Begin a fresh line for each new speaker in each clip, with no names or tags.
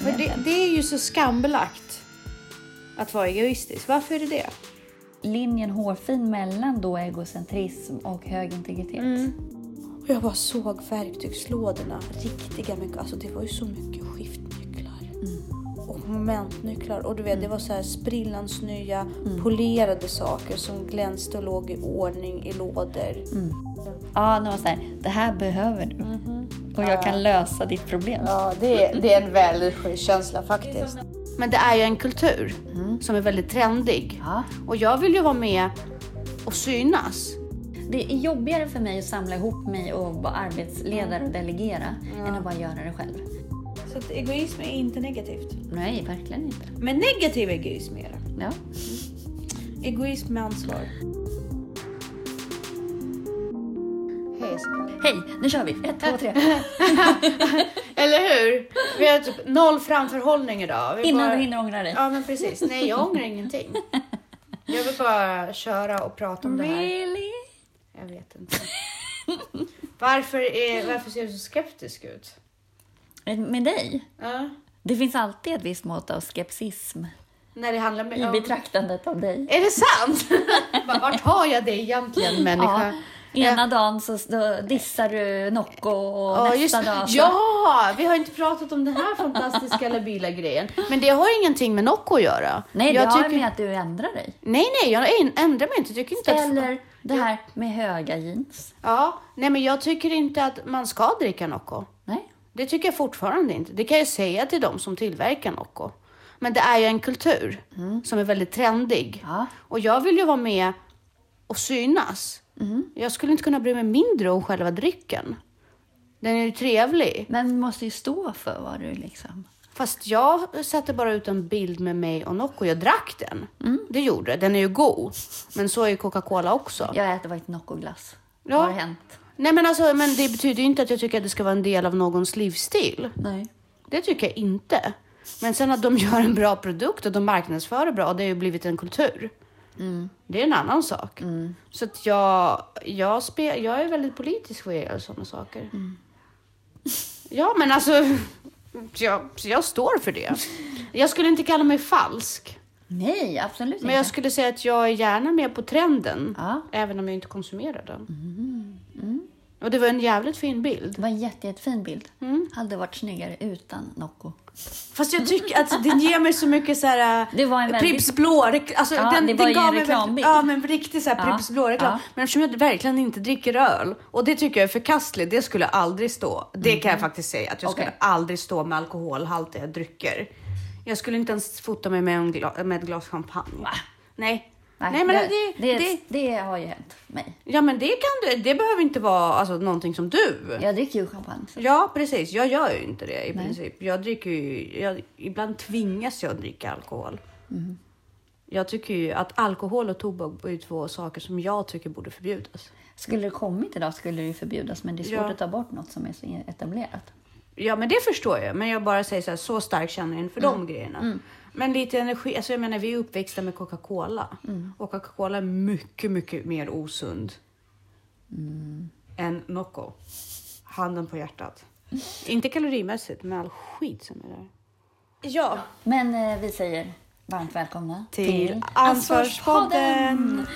För det, det är ju så skambelagt att vara egoistisk. Varför är det det?
Linjen hårfin mellan då egocentrism och hög integritet.
Och jag bara såg verktygslådorna, riktiga mycket. Alltså det var ju så mycket skiftnycklar. Och momentnycklar. Och du vet, det var så här sprillans nya polerade saker som glänste och låg i ordning i lådor.
Ja, det var så här, det här behöver du. Och jag kan lösa ditt problem.
Ja, det är, det är en väldigt skön känsla faktiskt. Mm. Men det är ju en kultur som är väldigt trendig.
Ja.
Och jag vill ju vara med och synas.
Det är jobbigare för mig att samla ihop mig och vara arbetsledare och delegera än att bara göra det själv.
Så att egoism är inte negativt.
Nej, verkligen inte.
Men negativ egoism är det.
Ja.
Egoism med ansvar. Hej
Hej, nu kör vi! Ett, två, tre.
Eller hur? Vi har typ noll framförhållning idag. Vi
Innan
bara...
du hinner ångra dig.
Ja men precis. Nej jag ångrar ingenting. Jag vill bara köra och prata om det här.
Really?
Jag vet inte. Varför, är, varför ser du så skeptisk ut?
Eh, Med dig?
Ja.
Det finns alltid ett visst mått av skepsism
När det handlar med...
i
ja.
betraktandet av dig.
Är det sant? Bara, Vart har jag det egentligen människa?
Ja. Ena dagen så då dissar du Nocco och
Ja,
nästa
just,
dag alltså. så...
ja, vi har inte pratat om den här fantastiska labila grejen. Men det har ingenting med Nocco att göra.
Nej, det
jag
har
tycker-
med att du ändrar dig.
Nej, nej, jag änd- ändrar mig inte. Jag Tycker inte Att...
Eller det här med höga jeans.
Ja, nej, men jag tycker inte att man ska dricka Nocco.
Nej.
Det tycker jag fortfarande inte. Det kan jag säga till de som tillverkar Nocco. Men det är ju en kultur som är väldigt trendig.
Mm. Ja.
Och jag vill ju vara med och synas. Jag skulle inte kunna bry mig mindre om själva drycken. Den är ju trevlig.
Men du måste ju stå för vad du liksom...
Fast jag satte bara ut en bild med mig och Nocco. Jag drack den. Det gjorde jag. Den är ju god. Men så är ju Coca-Cola också.
Jag äter faktiskt Nocco-glass.
Ja.
Har hänt?
Nej men alltså, men det betyder ju inte att jag tycker att det ska vara en del av någons livsstil.
Nej.
Det tycker jag inte. Men sen att de gör en bra produkt och de marknadsför det bra, det har ju blivit en kultur. Det är en annan sak. Så att jag, jag, spe, jag är väldigt politisk vad gäller sådana saker. Ja, men alltså, jag, jag står för det. Jag skulle inte kalla mig falsk,
Nej, absolut inte.
men jag skulle säga att jag är gärna med på trenden,
Ja.
även om jag inte konsumerar den. Och det var en jävligt fin bild.
Det var en jätte, jättefin bild.
Mm.
Hade varit snyggare utan Nocco.
Fast jag tycker att den ger mig så mycket så här...
Det var en väldigt-
Pripps blå reklam. Alltså,
Ja,
den,
det var
den
ju en
gav mig väldigt-
reklambild.
Ja, men riktigt så här
Ja,
Pripps blå reklam.
ja.
Men eftersom jag verkligen inte dricker öl och det tycker jag är förkastligt. Det skulle jag aldrig stå. Det kan jag faktiskt säga att jag skulle
Mm. Okej.
aldrig stå med alkoholhaltiga drycker. Jag skulle inte ens fota mig med, en gla, med ett glas champagne. Nej. Nej, men det, det,
det, det har ju hänt mig.
ja, men det kan du. Det behöver inte vara alltså, någonting som du.
Jag dricker ju champagne. så-
Ja, precis. Jag gör ju inte det i princip. Jag dricker ju, jag, ibland tvingas jag dricka alkohol. Jag tycker ju att alkohol och tobak är ju två saker som jag tycker borde förbjudas.
Skulle det kommit idag skulle det ju förbjudas, men det är svårt
Ja.
att ta bort något som är så etablerat.
Ja, men det förstår jag. Men jag bara säger så här, så stark känner jag inför de grejerna. Men lite energi, alltså jag menar vi är uppväxta med Coca-Cola. Och Coca-Cola är mycket, mycket mer osund. Än Nocco. Handen på hjärtat. Inte kalorimässigt, men all skit som är där. Ja,
Men eh, vi säger varmt välkomna
Till Ansvarspodden.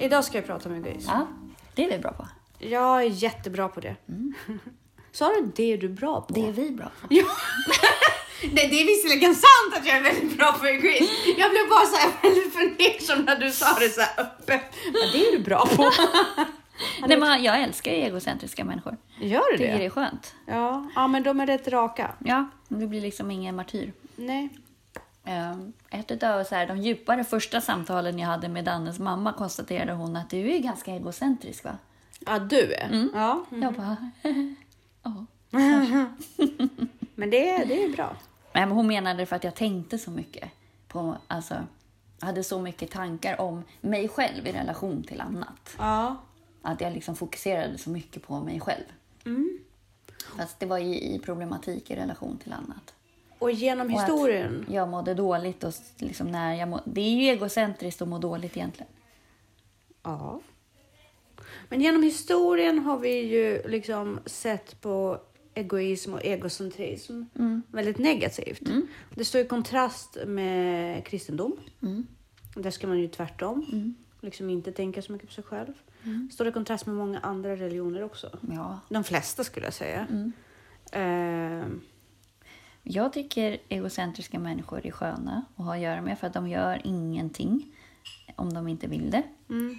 Idag ska jag prata om egoism.
Ja, det är vi bra på.
Jag är jättebra på det. Sa du det är du bra på?
Det är vi bra på.
Mm. Ja. Nej, det är visserligen sant att jag är väldigt bra på egoism. Jag blev bara så här väldigt fundersam när du sa det så här öppet. Men det är du bra på.
Nej, men jag älskar ju egocentriska människor.
Gör du
Tycker det
det?
är skönt.
Ja. ja, men de är rätt raka.
Ja, du blir liksom ingen martyr.
Nej.
Eh, Ett av så här, de djupare första samtalen jag hade med Dannes mamma konstaterade hon att du är ganska egocentrisk va?
Ja, du är. Mm. Ja.
Jag bara, ja.
Men det, det är bra.
Nej, men hon menade för att jag tänkte så mycket. På, alltså, jag hade så mycket tankar om mig själv i relation till annat.
Ja.
Att jag liksom fokuserade så mycket på mig själv. Fast det var i, i problematik i relation till annat.
Och genom
Och att
historien.
Jag mådde dåligt och s- liksom när jag må, Det är ju egocentriskt att må dåligt egentligen.
Ja. Men genom historien har vi ju liksom sett på egoism och egocentrism väldigt negativt. Det står i kontrast med kristendom. Där ska man ju tvärtom. Liksom inte tänka så mycket på sig själv. Står i kontrast med många andra religioner också.
Ja.
De flesta skulle jag säga. Ehm,
Jag tycker egocentriska människor är sköna att ha att göra med för att de gör ingenting om de inte vill det.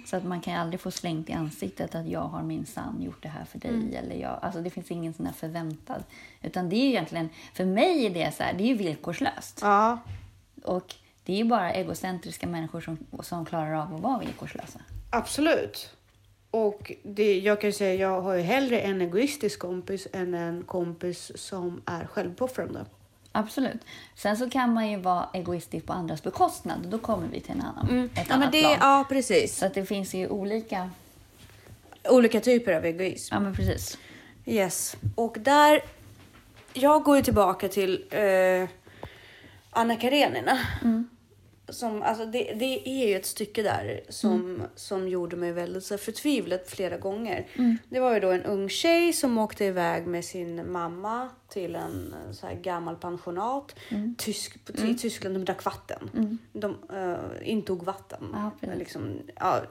Så att man kan ju aldrig få slängt i ansiktet att jag har minsann gjort det här för dig. Eller jag, alltså det finns ingen sån här förväntad. Utan det är ju egentligen, för mig är det så här, det är ju villkorslöst.
ja.
Och det är ju bara egocentriska människor som, som klarar av att vara villkorslösa.
Absolut. Och det, jag kan ju säga jag har ju hellre en egoistisk kompis än en kompis som är självpoffrande.
Absolut. Sen så kan man ju vara egoistisk på andras bekostnad. Då kommer vi till en annan, ett
Mm. Ja, men
annat
det,
plan.
ja, precis.
Så att det finns ju olika...
Olika typer av egoism.
Ja, men precis.
Yes. Och där... Jag går ju tillbaka till eh, Anna Karenina.
Mm.
Som, alltså det, det är ju ett stycke där som,
Mm.
som gjorde mig väldigt så här förtvivlad flera gånger.
Mm.
Det var ju då en ung tjej som åkte iväg med sin mamma till en eh, så här gammal pensionat
Mm.
Tysk, på, i Tyskland. De drack vatten. De eh, intog vatten.
Ja, precis.
liksom, ja,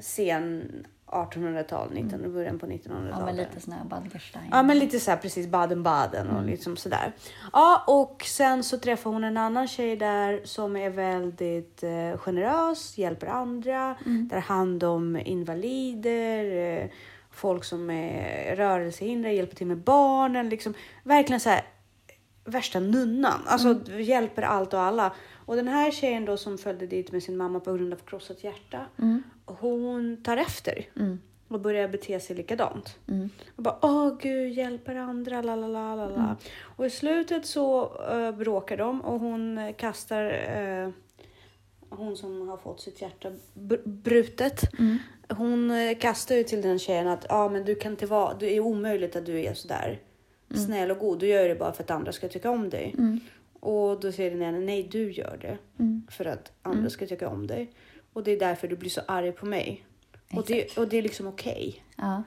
sen 1800-tal, 19, början på 1900-talet.
Ja, men lite sån här Badgerstein.
Ja, men lite så här precis Baden-Baden och liksom sådär. Ja, och sen så träffar hon en annan tjej där som är väldigt eh, generös, hjälper andra, tar hand om invalider, eh, folk som är rörelsehindrade, hjälper till med barnen, liksom verkligen så här värsta nunnan. Alltså hjälper allt och alla. Och den här tjejen då som följde dit med sin mamma på grund av krossat hjärta. Hon tar efter. Och börjar bete sig likadant.
Mm.
Och bara åh gud hjälper andra la la la la la. Och i slutet så eh, bråkar de och hon eh, kastar eh, hon som har fått sitt hjärta br- brutet. Hon eh, kastar ju till den tjejen att ah, men du kan inte vara, det är omöjligt att du är sådär snäll och god. Du gör det bara för att andra ska tycka om dig. Och då säger den ena, nej du gör det för att andra ska tycka om dig. Och det är därför du blir så arg på mig. Och det, och det är liksom okej.
Ja.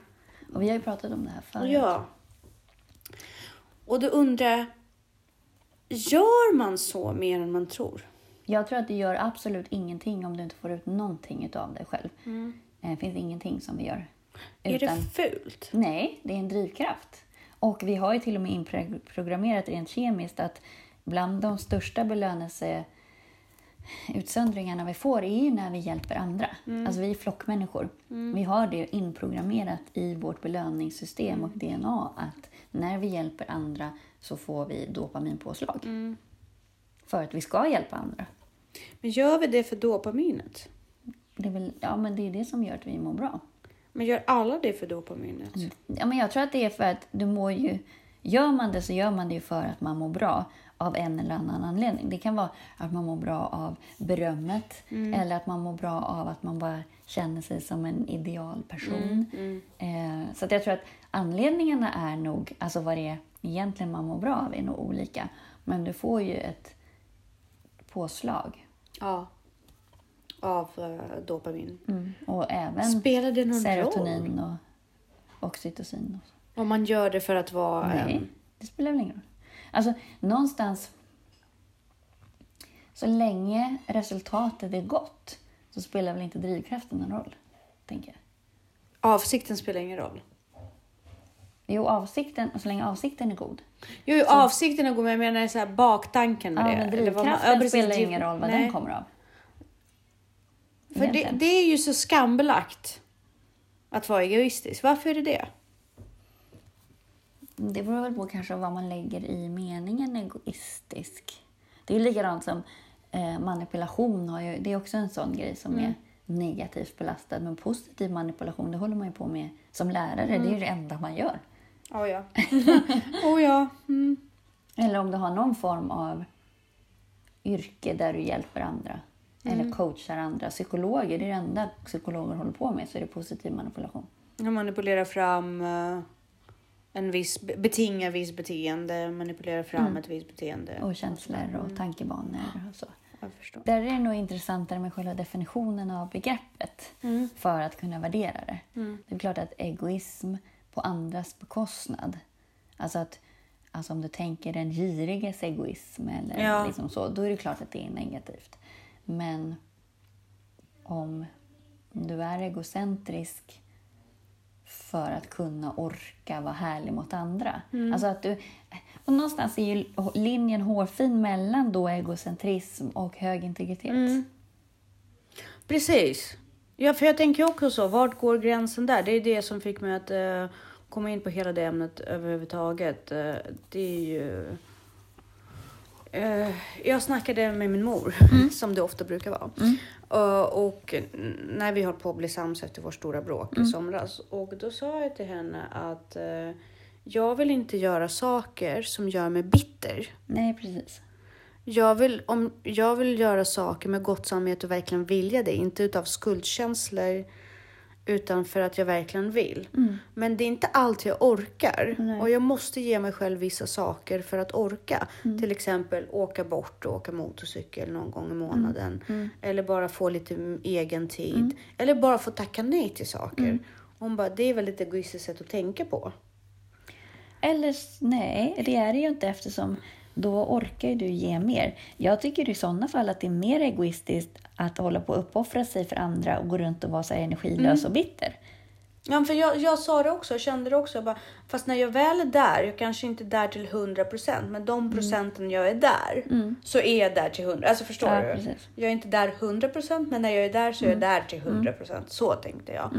Och vi har ju pratat om det här förut.
Ja. Och då undrar jag, gör man så mer än man tror?
Jag tror att det gör absolut ingenting om du inte får ut någonting av dig själv. Eh, Det finns ingenting som vi gör.
Mm. Är det fult?
Nej, det är en drivkraft. Och vi har ju till och med inprogrammerat rent kemiskt att bland de största belönelseutsöndringarna vi får är ju när vi hjälper andra. Alltså vi är flockmänniskor. Vi har det inprogrammerat i vårt belöningssystem och DNA att när vi hjälper andra så får vi dopaminpåslag. För att vi ska hjälpa andra.
Men gör vi det för dopaminet?
Det är, väl, ja, men det, är det som gör att vi mår bra.
Men gör alla det för dopaminet?
Ja, men jag tror att det är för att du mår ju... Gör man det så gör man det ju för att man mår bra av en eller annan anledning. Det kan vara att man mår bra av berömmet
Mm.
eller att man mår bra av att man bara känner sig som en idealperson.
Mm,
Eh, så att jag tror att anledningarna är nog, alltså vad det är egentligen man mår bra av är nog olika. Men du får ju ett påslag.
Ja. Av eh, dopamin.
Och även
Spelar det någon roll?
serotonin och oxytocin. Och så.
Om man gör det för att vara...
Nej,
en-
det spelar väl ingen roll. Alltså, någonstans... Så länge resultatet är gott så spelar väl inte drivkraften någon roll, tänker jag.
Avsikten spelar ingen roll.
Jo, avsikten, och så länge avsikten är god.
Jo, jo avsikten är god, men jag menar så här, baktanken
Ja,
med det.
men
Eller vad man-
drivkraften
Mm. ja, precis,
spelar
driv-
ingen roll vad
Nej.
den kommer av.
För det,
egentligen.
det är ju så skambelagt att vara egoistisk. Varför är det det?
Det beror väl på kanske vad man lägger i meningen
Mm.
egoistisk. Det är ju likadant som eh, manipulation. Har ju, det är också en sån grej som är negativt belastad. Men positiv manipulation, det håller man ju på med som lärare.
Mm.
Det är ju det enda man gör.
Oh ja. oh ja. Mm.
Eller om du har någon form av yrke där du hjälper andra. Eller coachar andra. Psykologer, det är det enda psykologer håller på med. Så är det positiv manipulation.
Jag manipulerar fram eh, en viss, betinga viss beteende, manipulera fram ett visst beteende.
Och känslor och tankebanor och så.
Jag förstår.
Där är det nog intressantare med själva definitionen av begreppet för att kunna värdera det. Det är klart att egoism på andras bekostnad, alltså, att, alltså om du tänker den giriges egoism eller
Ja.
liksom så, då är det klart att det är negativt. Men om du är egocentrisk för att kunna orka vara härlig mot andra. Alltså att du, och någonstans är ju linjen hårfin mellan då egocentrism och hög integritet.
Precis. Ja, för jag tänker också så, vart går gränsen där? Det är det som fick mig att eh, komma in på hela det ämnet överhuvudtaget. Eh, det är ju... Eh, jag snackade med min mor, som det ofta brukar vara. Eh, och n- när vi höll på att bli sams efter vårt stora bråk i somras. Och då sa jag till henne att eh, jag vill inte göra saker som gör mig bitter.
Nej, precis.
Jag vill, om, jag vill göra saker med gott samvete och verkligen vilja det. Inte utav skuldkänslor, utan för att jag verkligen vill. Men det är inte allt jag orkar. Och jag måste ge mig själv vissa saker för att orka. Till exempel åka bort och åka motorcykel någon gång i månaden. Eller bara få lite m- egen tid. Eller bara få tacka nej till saker. Hon bara, det är väldigt egoistiskt sätt att tänka på.
Eller s- nej, det är det ju inte eftersom då orkar ju du ge mer. Jag tycker i sådana fall att det är mer egoistiskt att hålla på och uppoffra sig för andra och gå runt och vara så här energilös och bitter.
Ja, för jag, jag sa det också, jag kände det också. Jag bara, fast när jag väl är där, jag kanske inte är där till 100 procent, men
Mm.
de procenten jag är där så är jag där till 100. Alltså förstår
Ja,
du?
precis. Mm.
Jag är inte där 100 procent, men när jag är där så är jag där till 100 procent. Så tänkte jag.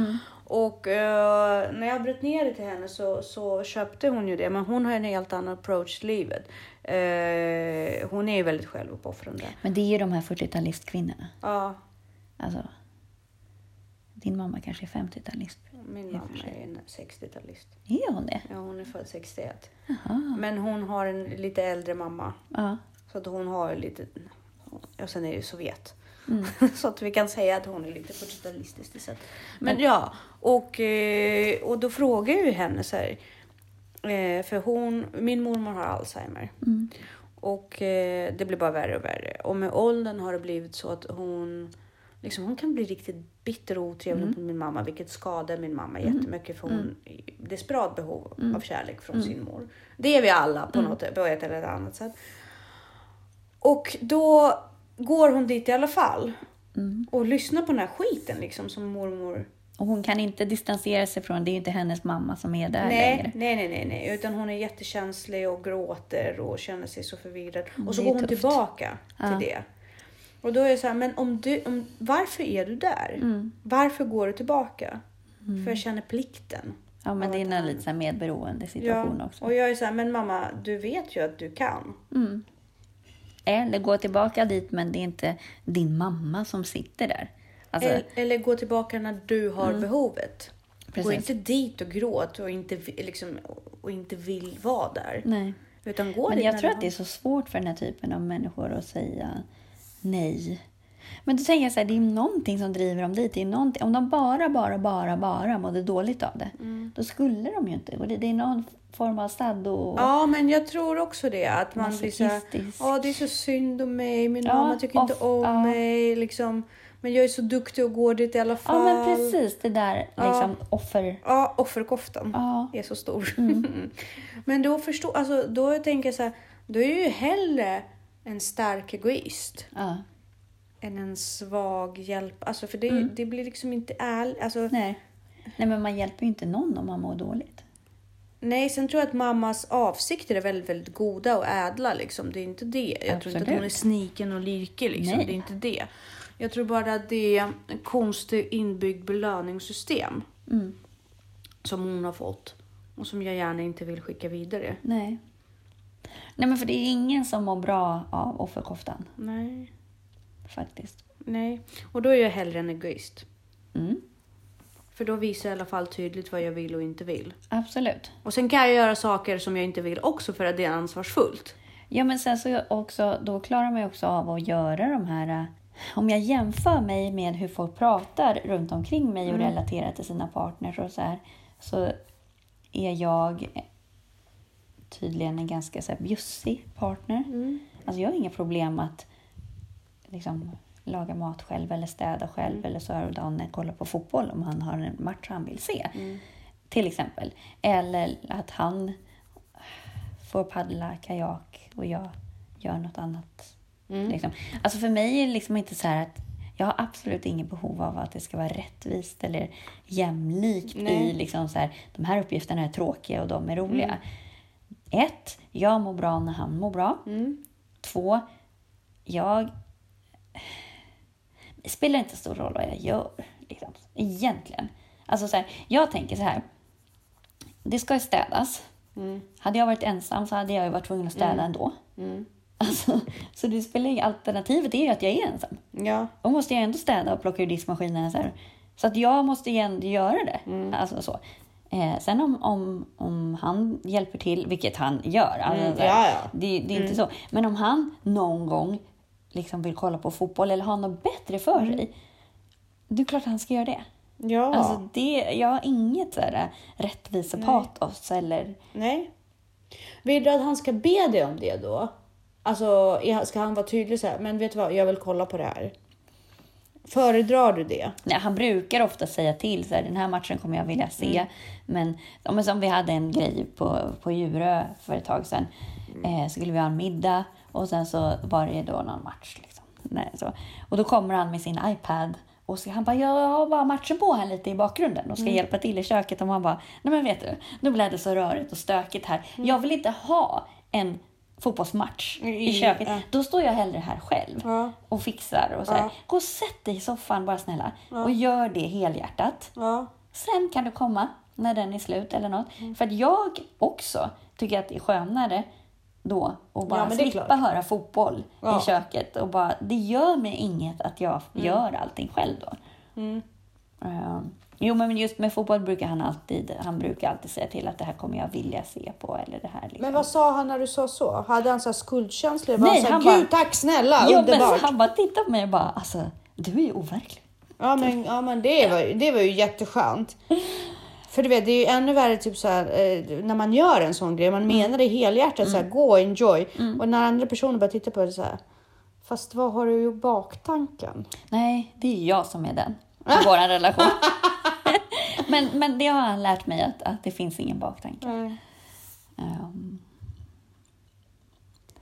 Och eh, när jag bröt ner det till henne så, så köpte hon ju det, men hon har en helt annan approach till livet. Eh, hon är ju väldigt självuppoffrande.
Men det är ju de här 40-talistkvinnorna.
Ja,
Alltså, din mamma kanske är 50-talist.
min
I och för
mamma
sig.
är en 60-talist.
Är hon det?
Ja, hon är född 61.
Jaha.
Men hon har en lite äldre mamma.
Ja.
Så att hon har lite... Och sen är det ju Sovjet. så att vi kan säga att hon är lite portugalistisk i sätt. Men ja, och, eh, och då frågar jag ju henne så här. eh, För hon, min mormor har Alzheimer.
Mm.
Och eh, det blir bara värre och värre. Och med åldern har det blivit så att hon, liksom, hon kan bli riktigt bitter och otrevlig mot min mamma, vilket skadar min mamma jättemycket för hon har desperat behov av kärlek från sin mor. Det är vi alla på, något, på ett eller annat sätt. Och då går hon dit i alla fall och lyssnar på den här skiten liksom som mormor.
Mm. Och hon kan inte distansera sig från, det är ju inte hennes mamma som är där längre.
Nej, nej, nej, nej, nej, utan hon är jättekänslig och gråter och känner sig så förvirrad. Och så
Mm, det är
går hon
tufft.
tillbaka
Ja.
till det. Och då är jag så här, men om du, om, varför är du där?
Mm.
Varför går du tillbaka? För jag känner plikten.
Ja, men det är en lite så här medberoende situation också.
Och jag är så här, men mamma, du vet ju att du kan.
Eller gå tillbaka dit, men det är inte din mamma som sitter där. Alltså, Mm.
Eller, eller gå tillbaka när du har behovet. Gå
Precis.
inte dit och gråt och inte, vi- liksom, och inte vill vara där.
nej.
Utan gå
Men
dit
jag
när
tror
du
att det är så svårt för den här typen av människor att säga nej. Men då tänker jag så här, det är någonting som driver dem dit. Det är någonting, om de bara, bara, bara, bara mådde dåligt av det,
Mm.
då skulle de ju inte gå dit. Det är någon form av stad och...
Ja, men jag tror också det. Att
Alltså,
man blir så här,
Masochistisk.
ja det är så synd om mig, min
Ja,
mamma tycker inte
off-
om
ja.
mig. Liksom. Men jag är så duktig och går dit i alla fall.
Ja, men precis. Det där liksom offer...
Ja, offerkoftan
Ja. Mm.
är så stor. men då förstår, alltså, då tänker jag så här, då är jag ju hellre en stark egoist
Ja.
än en svag hjälp. Alltså, för det,
Mm.
det blir liksom inte ärligt. Alltså,
Nej. nej, men man hjälper ju inte någon om man mår dåligt.
Nej, sen tror jag att mammas avsikter är väldigt, väldigt goda och ädla. Liksom. Det är inte det. Jag tror inte att
Absolut.
hon är sniken och lirkig. Liksom.
Nej.
Det är inte det. Jag tror bara att det är en konstig inbyggd belöningssystem
Mm.
som hon har fått och som jag gärna inte vill skicka vidare.
Nej. Nej, men för det är ingen som mår bra av offerkoftan,
Nej.
faktiskt.
Nej, och då är jag hellre en egoist.
Mm,
För då visar jag i alla fall tydligt vad jag vill och inte vill.
absolut.
Och sen kan jag göra saker som jag inte vill också för att det är ansvarsfullt.
Ja, men sen så också, då klarar man ju också av att göra de här... eh, Om jag jämför mig med hur folk pratar runt omkring mig och relaterar till sina partners och så här, så är jag tydligen en ganska så här bjussig partner. Alltså jag har inga problem att liksom, laga mat själv eller städa själv eller så här och Danne kollar på fotboll om han har en match han vill se.
Mm.
Till exempel. Eller att han får paddla kajak och jag gör något annat.
Mm.
Liksom. Alltså för mig är det liksom inte så här att jag har absolut inget behov av att det ska vara rättvist eller jämlikt
Nej.
i liksom så här, de här uppgifterna är tråkiga och de är roliga. Ett, jag mår bra när han mår bra. Två, jag... Det spelar inte stor roll vad jag gör, liksom. egentligen. Alltså så här, jag tänker så här, det ska ju städas. Hade jag varit ensam så hade jag ju varit tvungen att städa ändå. Alltså, så det spelar ju, alternativet är ju att jag är ensam.
Ja.
Då måste jag ändå städa och plocka ur diskmaskinen. Så, här. så att jag måste ju ändå göra det.
Mm.
Alltså, så. Eh, sen om, om, om han hjälper till, vilket han gör. Alltså,
Mm,
så här,
ja, ja. Mm.
Det, det är inte så. Men om han någon gång liksom vill kolla på fotboll eller har något bättre för sig. Det är klart han ska göra det.
Mm. Ja.
Alltså, det jag har inget så här, eh, rättvisepatos eller...
Nej. Vill du att han ska be dig om det då? Alltså, är- ska han vara tydlig så här, men vet du vad, jag vill kolla på det här. Föredrar du det?
Nej, han brukar ofta säga till så här, den här matchen kommer jag vilja se.
Mm.
Men, ja, men som vi hade en grej på, på Djurö för ett tag sedan.
Mm.
Eh, skulle vi ha en middag och sen så var det då någon match. Liksom. Nej, så. Och då kommer han med sin iPad och så, han bara, jag har bara matchen på här lite i bakgrunden och ska
Mm.
hjälpa till i köket. Och man bara, nej men vet du, nu blev det så rörigt och stökigt här.
Mm.
Jag vill inte ha en fotbollsmatch i
I-
köket.
ja.
Då står jag hellre här själv
Ja.
och fixar och så här.
Ja.
Gå och sätt dig i soffan bara snälla och gör det helhjärtat.
Ja.
Sen kan du komma när den är slut eller något.
Mm.
För att jag också tycker att det är skönare då och bara
men det är
slippa
klart.
höra fotboll
Ja. Mm.
i köket och bara, det gör mig inget att jag gör allting själv då. Ehm, jo, men just med fotboll brukar han alltid, han brukar alltid säga till att det här kommer jag vilja se på eller det här. Liksom.
Men vad sa han när du sa så? Hade han så här skuldkänslor? Var
Nej,
han så här,
han
Gud
bara-
tack snälla,
jo, men så
underbart.
han bara tittar på mig och bara, alltså du är ju overklig.
Ja men, ja, men det, var, ju- det var ju jätteskönt. För du vet, det är ju ännu värre typ så här, eh, när man gör en sån grej, man menar det helhjärtat, så här, gå enjoy. Och när andra personer bara tittar på det så här, fast vad har du i baktanken?
Nej, det är jag som är den i vår relation. men, men det har han lärt mig att, att det finns ingen baktanke. Ehm,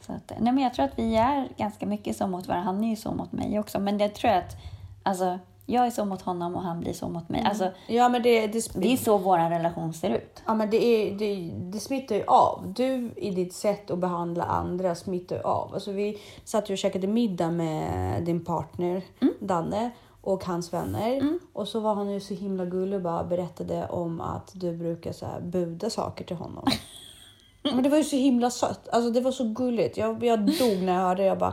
så att, nej men jag tror att vi är ganska mycket så mot varandra. Han är ju så mot mig också. Men det tror jag att alltså, jag är så mot honom och han blir så mot mig.
Mm.
Alltså,
Ja men det, det, sp-
det är så vår relation ser ut.
Ja, men det, är, det, det smittar ju av. Du i ditt sätt att behandla andra smittar ju av. Alltså, vi satt ju och käkade middag med din partner Danne och hans vänner. Och så var han ju så himla gullig och bara berättade om att du brukar så här buda saker till honom. Men det var ju så himla sött. Alltså det var så gulligt. Jag, jag dog när jag hörde det. Jag bara,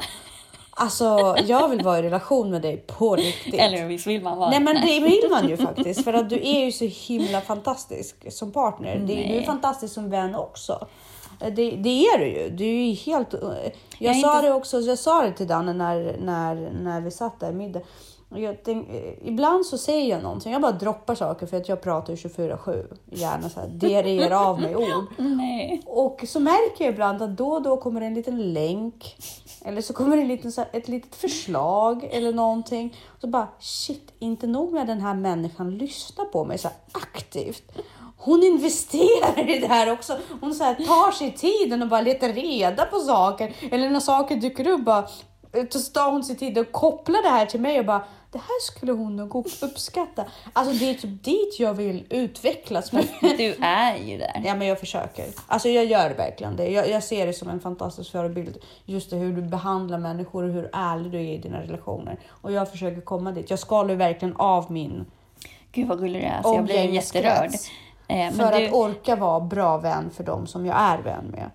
alltså jag vill vara i relation med dig på riktigt.
Eller visst vill man vara
Nej men det vill man ju faktiskt för att du är ju så himla fantastisk som partner. Det, du är fantastisk som vän också. Det, det är du ju. Du är ju helt... eh, Jag,
är
sa
inte-
det också, jag sa det till Danne när, när, när vi satt där i middag. Och Jag tänk, eh, ibland så säger jag någonting, jag bara droppar saker för att jag pratar ju 24-7. Gärna såhär, derierar av mig ord.
Nej.
Och så märker jag ibland att då och då kommer det en liten länk. Eller så kommer det en liten, så här- ett litet förslag eller någonting. Och så bara shit, inte nog med att den här människan lyssnar på mig så här aktivt. Hon investerar i det här också. Hon så här tar sig tiden och bara letar reda på saker. Eller när saker dyker upp bara, så tar hon sig tid och kopplar det här till mig och bara det här skulle hon nog uppskatta. Alltså det är typ dit jag vill utvecklas. Med.
Du är ju där.
Ja, men jag försöker. Alltså jag gör verkligen det. Jag, jag ser det som en fantastisk förebild. Just det, hur du behandlar människor och hur ärlig du är i dina relationer. Och jag försöker komma dit. Jag skalar ju verkligen av min
Gud vad gullig du är. Alltså, jag blir
Omgängeskrets.
jätterörd. Eh, men
för
du-
att orka vara bra vän för dem som jag är vän med.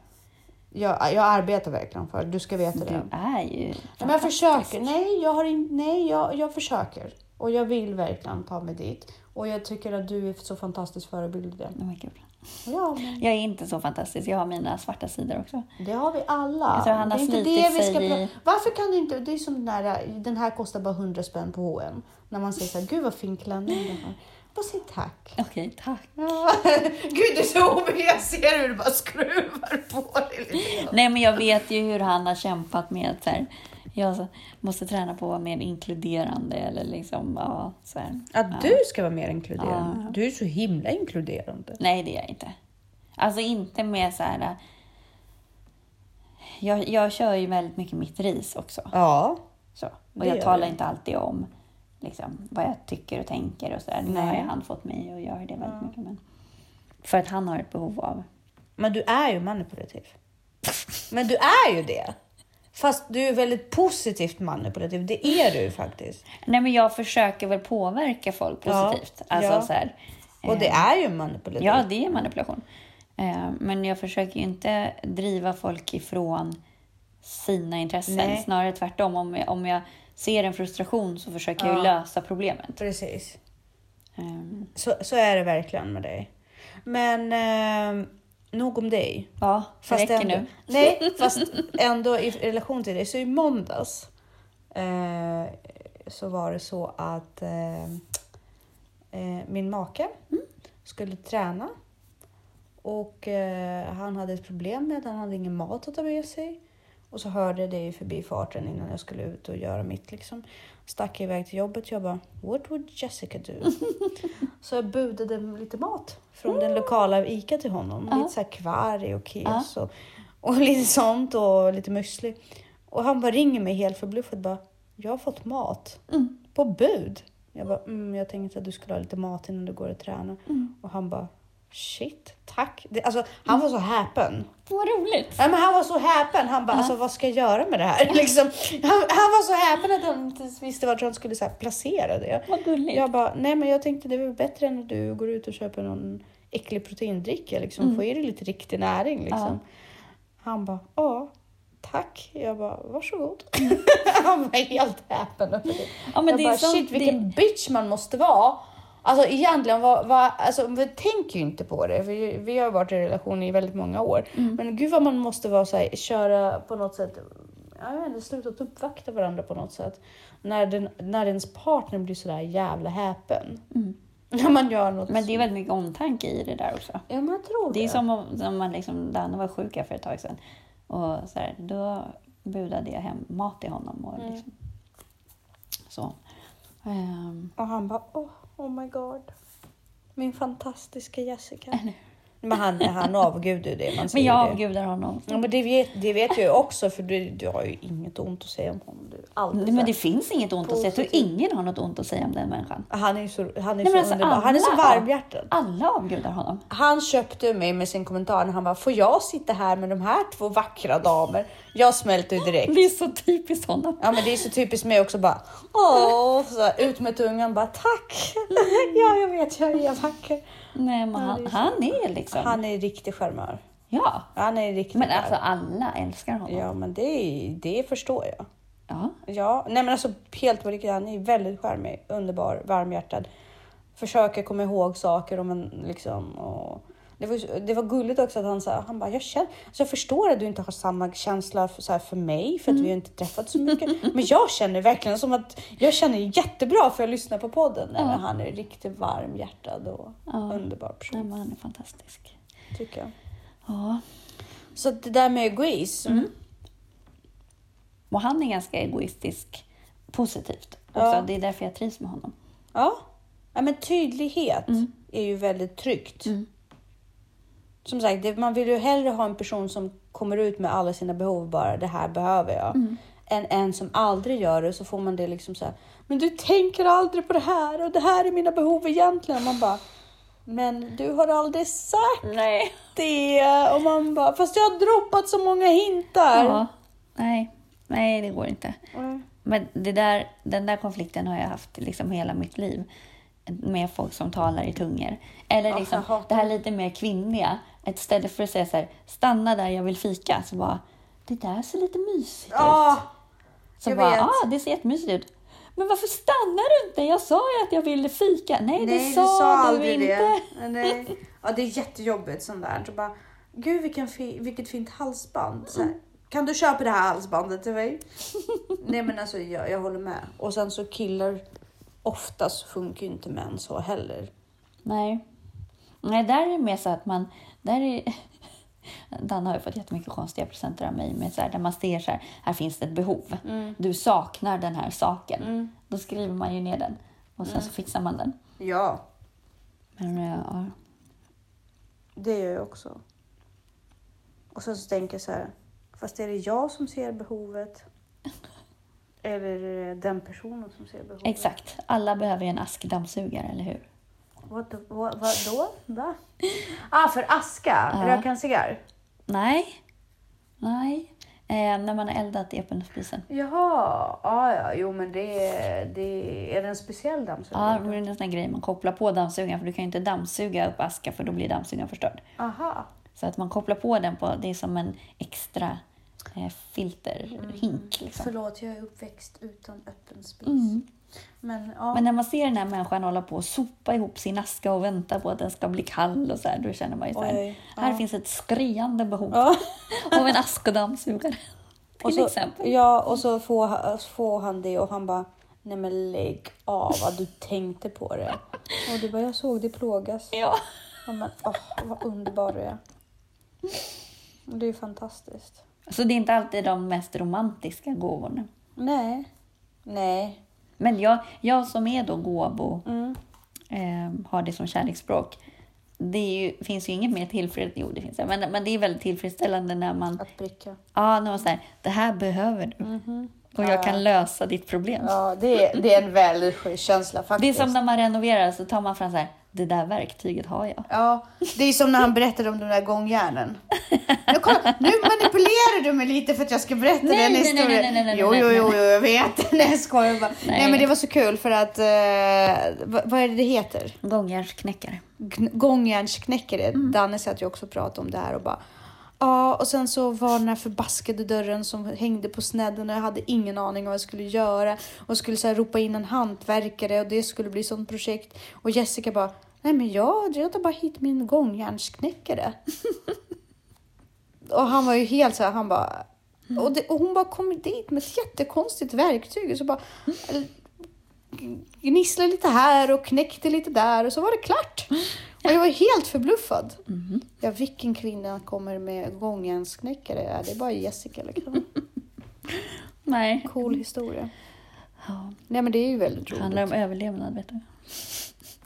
Jag, jag arbetar verkligen för det. Du ska veta det.
Du är ju...
Men jag försöker. Nej, jag, har in, nej jag, jag försöker. Och jag vill verkligen ta mig dit. Och jag tycker att du är så fantastisk förebild i det.
Oh my God.
Ja, men
Jag är inte så fantastisk. Jag har mina svarta sidor också.
det har vi alla.
Jag tror han har
det är inte
slitit
det vi
sig
ska
i-
pra- Varför kan det inte... Det är som den här, den här kostar bara 100 spänn på H&M När man säger så här, gud vad fin klänning du har. Bara säg tack.
Okej, tack.
Ja. Gud, du är så obehaglig. Jag ser hur du bara skruvar på dig lite grann.
Nej, men jag vet ju hur han har kämpat med att så här, jag så- måste träna på att vara mer inkluderande eller liksom, ja, så här.
Att
ja.
du ska vara mer inkluderande. Du är så himla inkluderande.
Nej, det är jag inte. Alltså inte med så här... äh, Jag, jag kör ju väldigt mycket mitt ris också.
Ja.
Så.
Det
Och
gör
jag talar
jag.
inte alltid om liksom, vad jag tycker och tänker och sådär. Nu har ju han fått mig att göra det väldigt mycket. Men för att han har ett behov av...
Men du är ju manipulativ. Men du är ju det. Fast du är väldigt positivt manipulativ. Det är du ju faktiskt.
Nej, men jag försöker väl påverka folk
Ja,
positivt. Alltså,
ja.
så här, eh,
Och det är ju manipulativt.
Ja, det är manipulation. Eh, Men jag försöker ju inte driva folk ifrån sina intressen.
Nej.
Snarare tvärtom. Om jag, om jag ser en frustration så försöker jag
Ja.
ju lösa problemet.
Precis.
Eh,
Så, så är det verkligen med dig. Men eh, nog om dig.
Ja, det
Fast
räcker
ändå,
nu.
Nej, fast ändå i relation till dig. Så i måndags eh, så var det så att eh, eh, min make skulle träna och eh, han hade ett problem med att han hade ingen mat att ta med sig. Och så hörde jag det i förbifarten innan jag skulle ut och göra mitt. Liksom. Stack iväg till jobbet. Jag bara, what would Jessica do? så jag budade lite mat från den lokala Ica till honom.
Ja.
Lite så här kvarg och kes och, och lite sånt och lite müsli. Och han bara ringer mig helt förbluffad bara, jag har fått mat på bud. Jag bara, mm, jag tänkte att du skulle ha lite mat innan du går och tränar. Och han bara, shit, tack. Det, alltså, han var så häpen.
Vad roligt!
Nej, men han var så häpen. Han bara, alltså, vad ska jag göra med det här? Liksom, han, han var så häpen att han inte ens visste vart han skulle så här, placera det.
Vad gulligt.
Jag bara, nej men jag tänkte det var bättre än att du går ut och köper någon äcklig proteindricka. Liksom. Få i dig lite riktig näring. Liksom. Han bara, ja, tack. Jag bara, varsågod. han var helt häpen. över det.
Ja, men
jag
det är
bara,
sånt-
shit
det-
vilken bitch man måste vara. Alltså egentligen, vad, vad, alltså, vi tänker ju inte på det. Vi, vi har varit i relation i väldigt många år.
Mm.
Men gud vad man måste vara så här, köra på något sätt, jag vet inte, sluta att uppvakta varandra på något sätt. När, den, när ens partner blir sådär jävla häpen. När man gör något.
mm. Men det är väldigt mycket omtanke i det där också.
Ja men jag tror det.
Det är som om som man liksom, Danne var sjuk här för ett tag sedan. Och så här, då budade jag hem mat till honom. Och liksom. Så. Ehm,
Och han bara, oh, oh my god. Min fantastiska Jessica. Men han, han avgudar ju det. Man
men
säger
jag
det.
avgudar honom.
Ja, men det vet, det vet jag ju också för du, du har ju inget ont att säga om honom. Du, är alltid
Nej,
så
men
här-
det finns inget ont att säga. Jag tror ingen har något ont att säga om den människan.
Han är ju så, han är
Nej,
så
men alltså,
underbar. Han är så
alla-
varmhjärtad.
Alla avgudar honom.
Han köpte mig med sin kommentar när han bara, får jag sitta här med de här två vackra damer? Jag smälte ju direkt.
Det är så typiskt honom.
Ja men det är så typiskt mig också bara, åh, så här, ut med tungan bara, tack! ja, jag vet, jag är vacker.
Nej, men han, han är liksom...
Han är riktig charmör.
Ja.
Han är riktig
Men alltså alla älskar honom.
Ja, men det, är- det förstår jag.
Ja.
Ja, nej men alltså helt på riktigt. Han är väldigt charmig, underbar, varmhjärtad. Försöker komma ihåg saker om en liksom. Och det, var, ju så- det var gulligt också att han sa, han bara, jag känner, alltså jag förstår att du inte har samma känsla för, så här, för mig för att vi har inte träffats så mycket. Men jag känner verkligen som att jag känner jättebra för jag lyssnar på podden. Nej, men han är riktigt varmhjärtad och
Mm.
underbar person
Nej, men han är fantastisk.
tycker jag.
Ja.
Så det där med egoism.
Och han är ganska egoistisk positivt. Också.
Ja.
Det är därför jag trivs med honom.
Ja, ja men tydlighet är ju väldigt tryggt. Som sagt, det, man vill ju hellre ha en person som kommer ut med alla sina behov bara, det här behöver jag.
Mm.
Än en som aldrig gör det så får man det liksom så här, men du tänker aldrig på det här och det här är mina behov egentligen. Man bara, men du har aldrig sagt
Nej.
det. Och man bara, fast jag har droppat så många hintar.
Ja. Nej. Nej, det går inte.
Mm.
Men det där, den där konflikten har jag haft liksom hela mitt liv med folk som talar i tungor. Eller
Ja,
liksom
jag hatar
det här lite mer kvinnliga Istället för att säga så här, stanna där jag vill fika, så bara, det där ser lite mysigt ut.
Ah.
Ja,
Så
jag
bara,
vet.
ah, det ser jättemysigt ut. Men varför stannar du inte? Jag sa ju att jag ville fika. Nej, det sa du, inte.
det. Nej. Ja, det är jättejobbigt sånt där. Så bara, Gud vilken fi- vilket fint halsband. Så här, kan du köpa det här halsbandet till mig? Nej men alltså jag, jag håller med. Och sen så killar oftast funkar ju inte män så heller.
Nej. Nej, där är det mer så att man... Där är... Danne har ju fått jättemycket konstiga presenter av mig, men så här, där man ser så här, här finns det ett behov. Du saknar den här saken. Då skriver man ju ner den och sen så fixar man den.
Ja,
Mm. Men eh, ja,
det gör jag också. Och sen så tänker jag så här, fast är det jag som ser behovet? Eller är det den personen som ser behovet?
exakt. Alla behöver ju en askdammsugare, eller hur?
What the, what, vadå? Va? Ah, för aska?
Ja.
Röka en cigarr?
Nej. Nej. Eh, när man har eldat i öppenspisen.
Jaha, ah, ja, jo men det är, det är, är det en speciell
Ja,
dammsugare?
men det är en sån här grej man kopplar på dammsugaren, för du kan ju inte dammsuga upp aska för då blir dammsugaren förstörd.
Aha.
Så att man kopplar på den på, det är som en extra eh,
Mm.
filterhink. Liksom.
Förlåt, jag är uppväxt utan öppen spis.
Mm.
Men ja,
Men när man ser den här människan hålla på och sopa ihop sin aska och vänta på att den ska bli kall och så här, då känner man ju så här,
Oj,
här
ja.
finns ett skriande behov
Ja.
av en askdammsugare. Till
och så,
exempel.
ja, och så får, ha- får han det och han bara Nej men lägg av vad du tänkte på det. Och du bara jag såg det plågas.
Ja.
Ja, men, åh, vad underbar du är. Det är ju fantastiskt.
Så det är inte alltid de mest romantiska gåvorna.
Nej. Nej.
Men jag, jag som är då gåbo,
Mm.
eh, har det som kärleksspråk. Det är ju, finns ju inget mer tillfredsställande, jo det finns det, men, men det är väldigt tillfredsställande när man,
Att bricka.
ja när man säger det här behöver du och jag kan lösa ditt problem.
Ja, det är, det är en väldigt skön känsla
Det är
faktiskt.
som när man renoverar så tar man fram så här, det där verktyget har jag.
Ja, det är som när han berättade om de där gångjärnen. Nu, kom, nu manipulerar du mig lite för att jag ska berätta
Nej,
den
nej, nej,
historien.
nej, nej, nej,
jo,
nej,
jo,
nej.
jo, jo, jag vet. Nej, jag skojar bara. Nej. men det var så kul för att, eh, vad, vad är det det heter?
Gångjärnsknäckare.
Gn- Gångjärnsknäckare. Danne satt ju också och pratade om det här och bara Ja, och sen så var den här förbaskade dörren som hängde på snedden och jag hade ingen aning om vad jag skulle göra och skulle så här ropa in en hantverkare och det skulle bli sånt projekt. Och Jessica bara, nej men jag, jag tar bara hit min gångjärnsknäckare. och han var ju helt så här, han bara, och, det, och hon bara kom dit med ett jättekonstigt verktyg och så bara gnisslade lite här och knäckte lite där och så var det klart. Och jag var helt förbluffad.
Mhm.
Ja, vilken kvinna kommer med gångjärnsknäckare? Ja, det är bara Jessica. Liksom.
Nej.
Cool historia.
Ja,
Nej, men det är ju väldigt
det
roligt.
handlar om överlevnad vet du.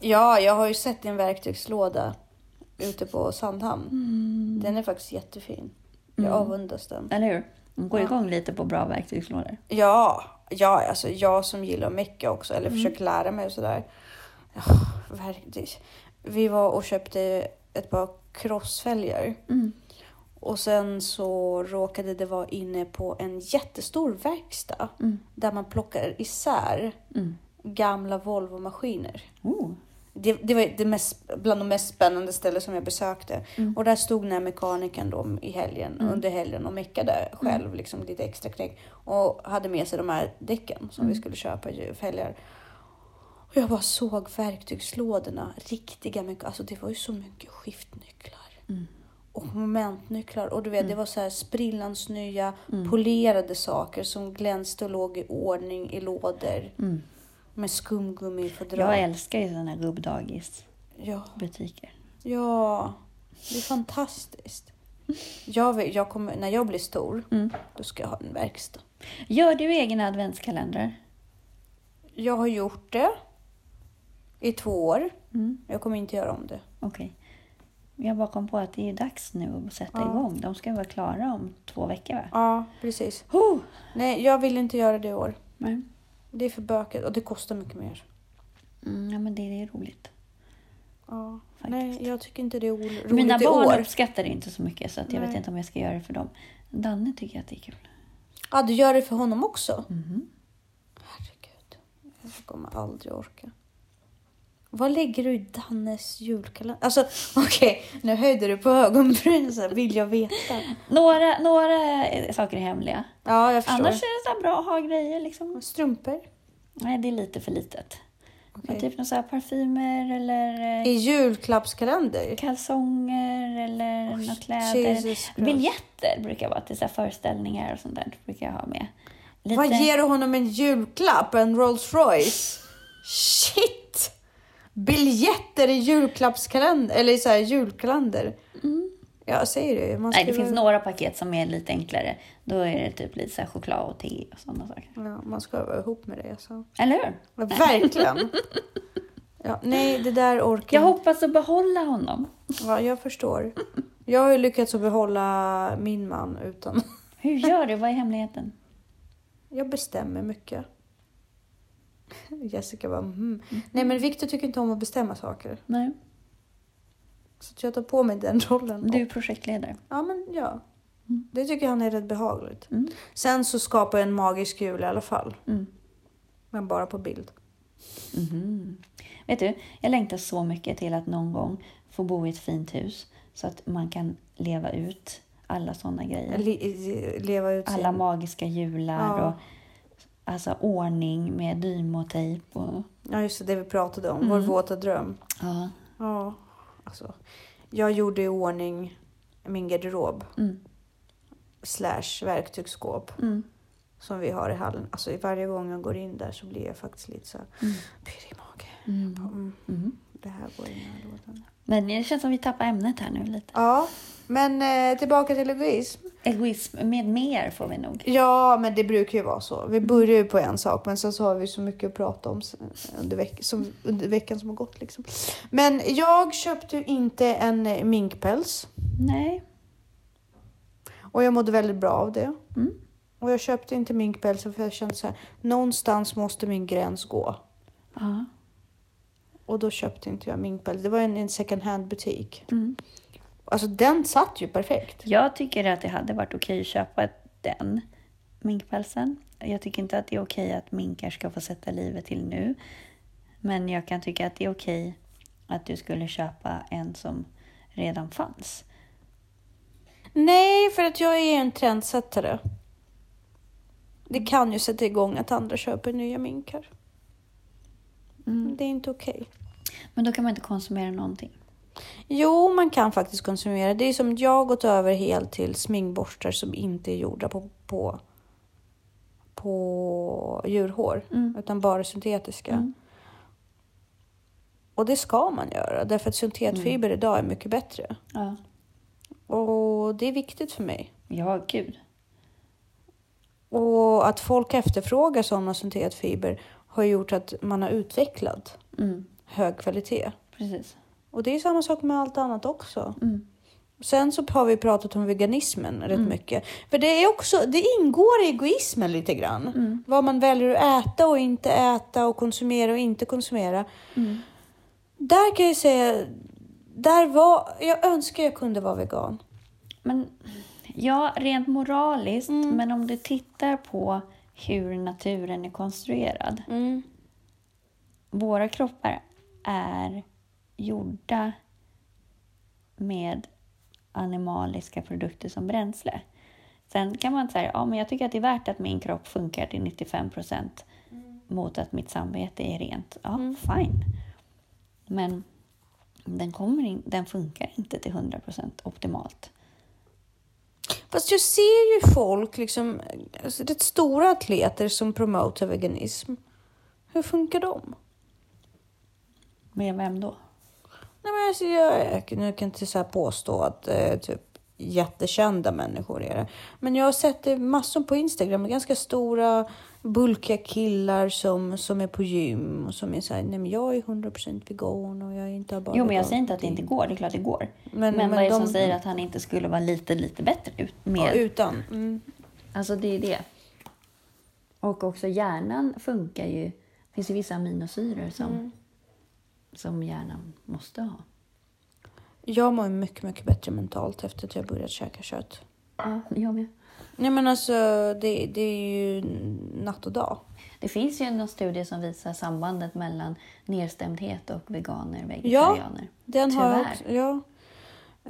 Ja, jag har ju sett en verktygslåda ute på Sandhamn.
Mm.
Den är faktiskt jättefin. Jag avundas den.
Eller hur? Man går
Ja.
igång lite på bra verktygslådor.
Ja, ja, alltså jag som gillar att mecka också,
Mm.
eller försöker lära mig och sådär. Oh, verktyg. Vi var och köpte ett par crossfälgar.
Mm.
Och sen så råkade det vara inne på en jättestor verkstad
Mm.
där man plockar isär
Mm.
gamla Volvo-maskiner.
Oh.
Det, det var det mest, bland de mest spännande ställen som jag besökte.
Mm.
Och där stod den här mekanikern då i helgen, under helgen och meckade själv liksom lite extra knäck. Och hade med sig de här däcken som vi skulle köpa i helger. Och jag bara såg verktygslådorna, riktiga mycket. Alltså det var ju så mycket skiftnycklar.
Mm.
Och momentnycklar. Och du vet, det var så här sprillans nya
Mm.
polerade saker som glänste och låg i ordning i lådor. Med skumgummi i fodral.
Mm. Jag älskar ju sådana här gubbdagisbutiker.
Ja. Ja, det är fantastiskt. Jag vill, jag kommer, när jag blir stor,
Mm.
då ska jag ha en verkstad.
Gör du egna adventskalendrar?
Jag har gjort det i två år.
Mm.
Jag kommer inte göra om det.
Okej. Jag bara kom på att det är dags nu att sätta
Ja.
igång. De ska vara klara om två veckor va?
Ja, precis.
Oh.
Nej, jag vill inte göra det i år.
Nej.
Det är för bökigt och det kostar mycket mer.
Mm, ja, men det är roligt.
Ja.
Faktiskt.
Nej, jag tycker inte det är ol- roligt
Mina
i
barn
år.
uppskattar det inte så mycket så att jag
Nej.
vet inte om jag ska göra det för dem. Danne tycker att det är kul.
Ja, du gör det för honom
Mm-hmm.
också? Herregud, jag kommer aldrig orka. Vad lägger du i Dannes julkalender? Alltså, okej, nu höjde du på ögonbrynen så här, vill jag veta.
Några, några eh, saker är hemliga.
Ja, jag förstår.
Annars är det så här bra att ha grejer. Liksom.
Strumpor?
Nej, det är lite för litet. Men
Okej.
Typ några så här parfymer eller eh,
I julklappskalender?
kalsonger eller några kläder.
Jesus Christ.
Biljetter brukar vara till så här föreställningar och sånt där. brukar jag ha med. Lite,
Vad ger du honom en julklapp? En Rolls Royce? Shit! Biljetter i julklappskalender, eller i så här julkalender. Jag säger det ju, man
Mm. Nej, det
skriver-
finns några paket som är lite enklare. Då är det typ lite så här choklad och te och sådana saker.
Ja, man ska vara ihop med alltså. det. Så.
Eller hur?
Ja, Verkligen. Ja, nej, det där orkar
Jag hoppas att behålla honom.
Ja, jag förstår. Jag har ju lyckats att behålla min man utan...
Hur gör du? Vad är hemligheten?
Jag bestämmer mycket. Jessica bara mm. Nej men Victor tycker inte om att bestämma saker.
Nej,
Så att jag tar på mig den rollen.
du Mm. är projektledare.
Ja men ja. Det tycker han är rätt behagligt.
Mm.
Sen så skapar jag en magisk jul i alla fall.
Mm.
Men bara på bild.
Mhm. Vet du, jag längtar så mycket till att någon gång få bo i ett fint hus så att man kan leva ut alla sådana grejer.
Le- eh, leva ut
Alla magiska jular
Ja.
och alltså, ordning med dymotejp. Och,
Ja just det, det vi pratade om.
Mm.
Vår våta dröm.
ja.
Ja, alltså. Jag gjorde i ordning min garderob.
Mm.
Slash verktygsskåp.
Mm.
Som vi har i hallen. Alltså varje gång jag går in där så blir jag faktiskt lite så här, pirr i magen. Mm.
Mm.
Det här går in i den här lådan.
Men det känns som vi tappar ämnet här nu lite.
Ja, men eh, tillbaka till egoism.
Egoism med mer får vi nog.
Ja, men det brukar ju vara så. Vi börjar ju på en sak, men sen så har vi så mycket att prata om s- under, veck- som, under veckan som har gått. Liksom. Men jag köpte ju inte en eh, minkpäls.
Nej.
Och jag mådde väldigt bra av det.
Mm.
Och jag köpte inte minkpälsen för jag kände så här, någonstans måste min gräns gå.
Ja.
Och då köpte inte jag minkpäls. Det var en, en second hand butik.
Mm.
Alltså den satt ju perfekt.
Jag tycker att det hade varit okej att köpa den minkpälsen. Jag tycker inte att det är okej att minkar ska få sätta livet till nu. Men jag kan tycka att det är okej att du skulle köpa en som redan fanns.
Nej, för att jag är en trendsättare. Det kan ju sätta igång att andra köper nya minkar. Det är inte okej.
Men då kan man inte konsumera någonting.
Jo, man kan faktiskt konsumera. Det är som jag har gått över helt till sminkborstar som inte är gjorda på, på, på djurhår
Mm.
utan bara syntetiska.
Mm.
Och det ska man göra därför att syntetfiber idag är mycket bättre.
Ja,
Och det är viktigt för mig.
ja gud.
Och att folk efterfrågar sådana syntetfiber har gjort att man har utvecklat
Mm,
hög kvalitet.
precis.
Och det är samma sak med allt annat också.
Mm.
Sen så har vi pratat om veganismen rätt mycket. För det, är också, det ingår i egoismen lite grann.
Mm.
Vad man väljer att äta och inte äta och konsumera och inte konsumera.
Mm.
Där kan jag säga, där var, jag önskar jag kunde vara vegan.
Men ja, rent moraliskt, men om du tittar på hur naturen är konstruerad. Våra kroppar är gjorda med animaliska produkter som bränsle. Sen kan man säga, ja men jag tycker att det är värt att min kropp funkar till 95 procent mot att mitt samvete är rent. Ja, fine. Men den, kommer in, den funkar inte till 100 procent optimalt.
Fast jag ser ju folk, liksom, alltså, rätt stora atleter som promotar veganism. Hur funkar de?
Med vem då?
Nej, men alltså, jag, jag, nu kan jag inte så här påstå att eh, typ jättekända människor är det. Men jag har sett det massor på Instagram, ganska stora bulkiga killar som, som är på gym och som är så här, nej men jag är 100% vegan och jag är inte bara
Jo, men jag
vegan."
säger inte att det inte går. Det är klart det går.
Men-
Men,
men
vad är det
de-
som säger att han inte skulle vara lite, lite bättre ut
Ja,
med...
utan. Mm.
Alltså, det är det. Och också hjärnan funkar ju. Det finns ju vissa aminosyror som, som hjärnan måste ha.
Jag mår mycket, mycket bättre mentalt efter att jag börjat käka kött.
Ja, jag med.
Nej men alltså det, det är ju natt och dag.
Det finns ju någon studie som visar sambandet mellan nedstämdhet och veganer,
Ja,
vegetarianer.
den har jag
Tyvärr.
också.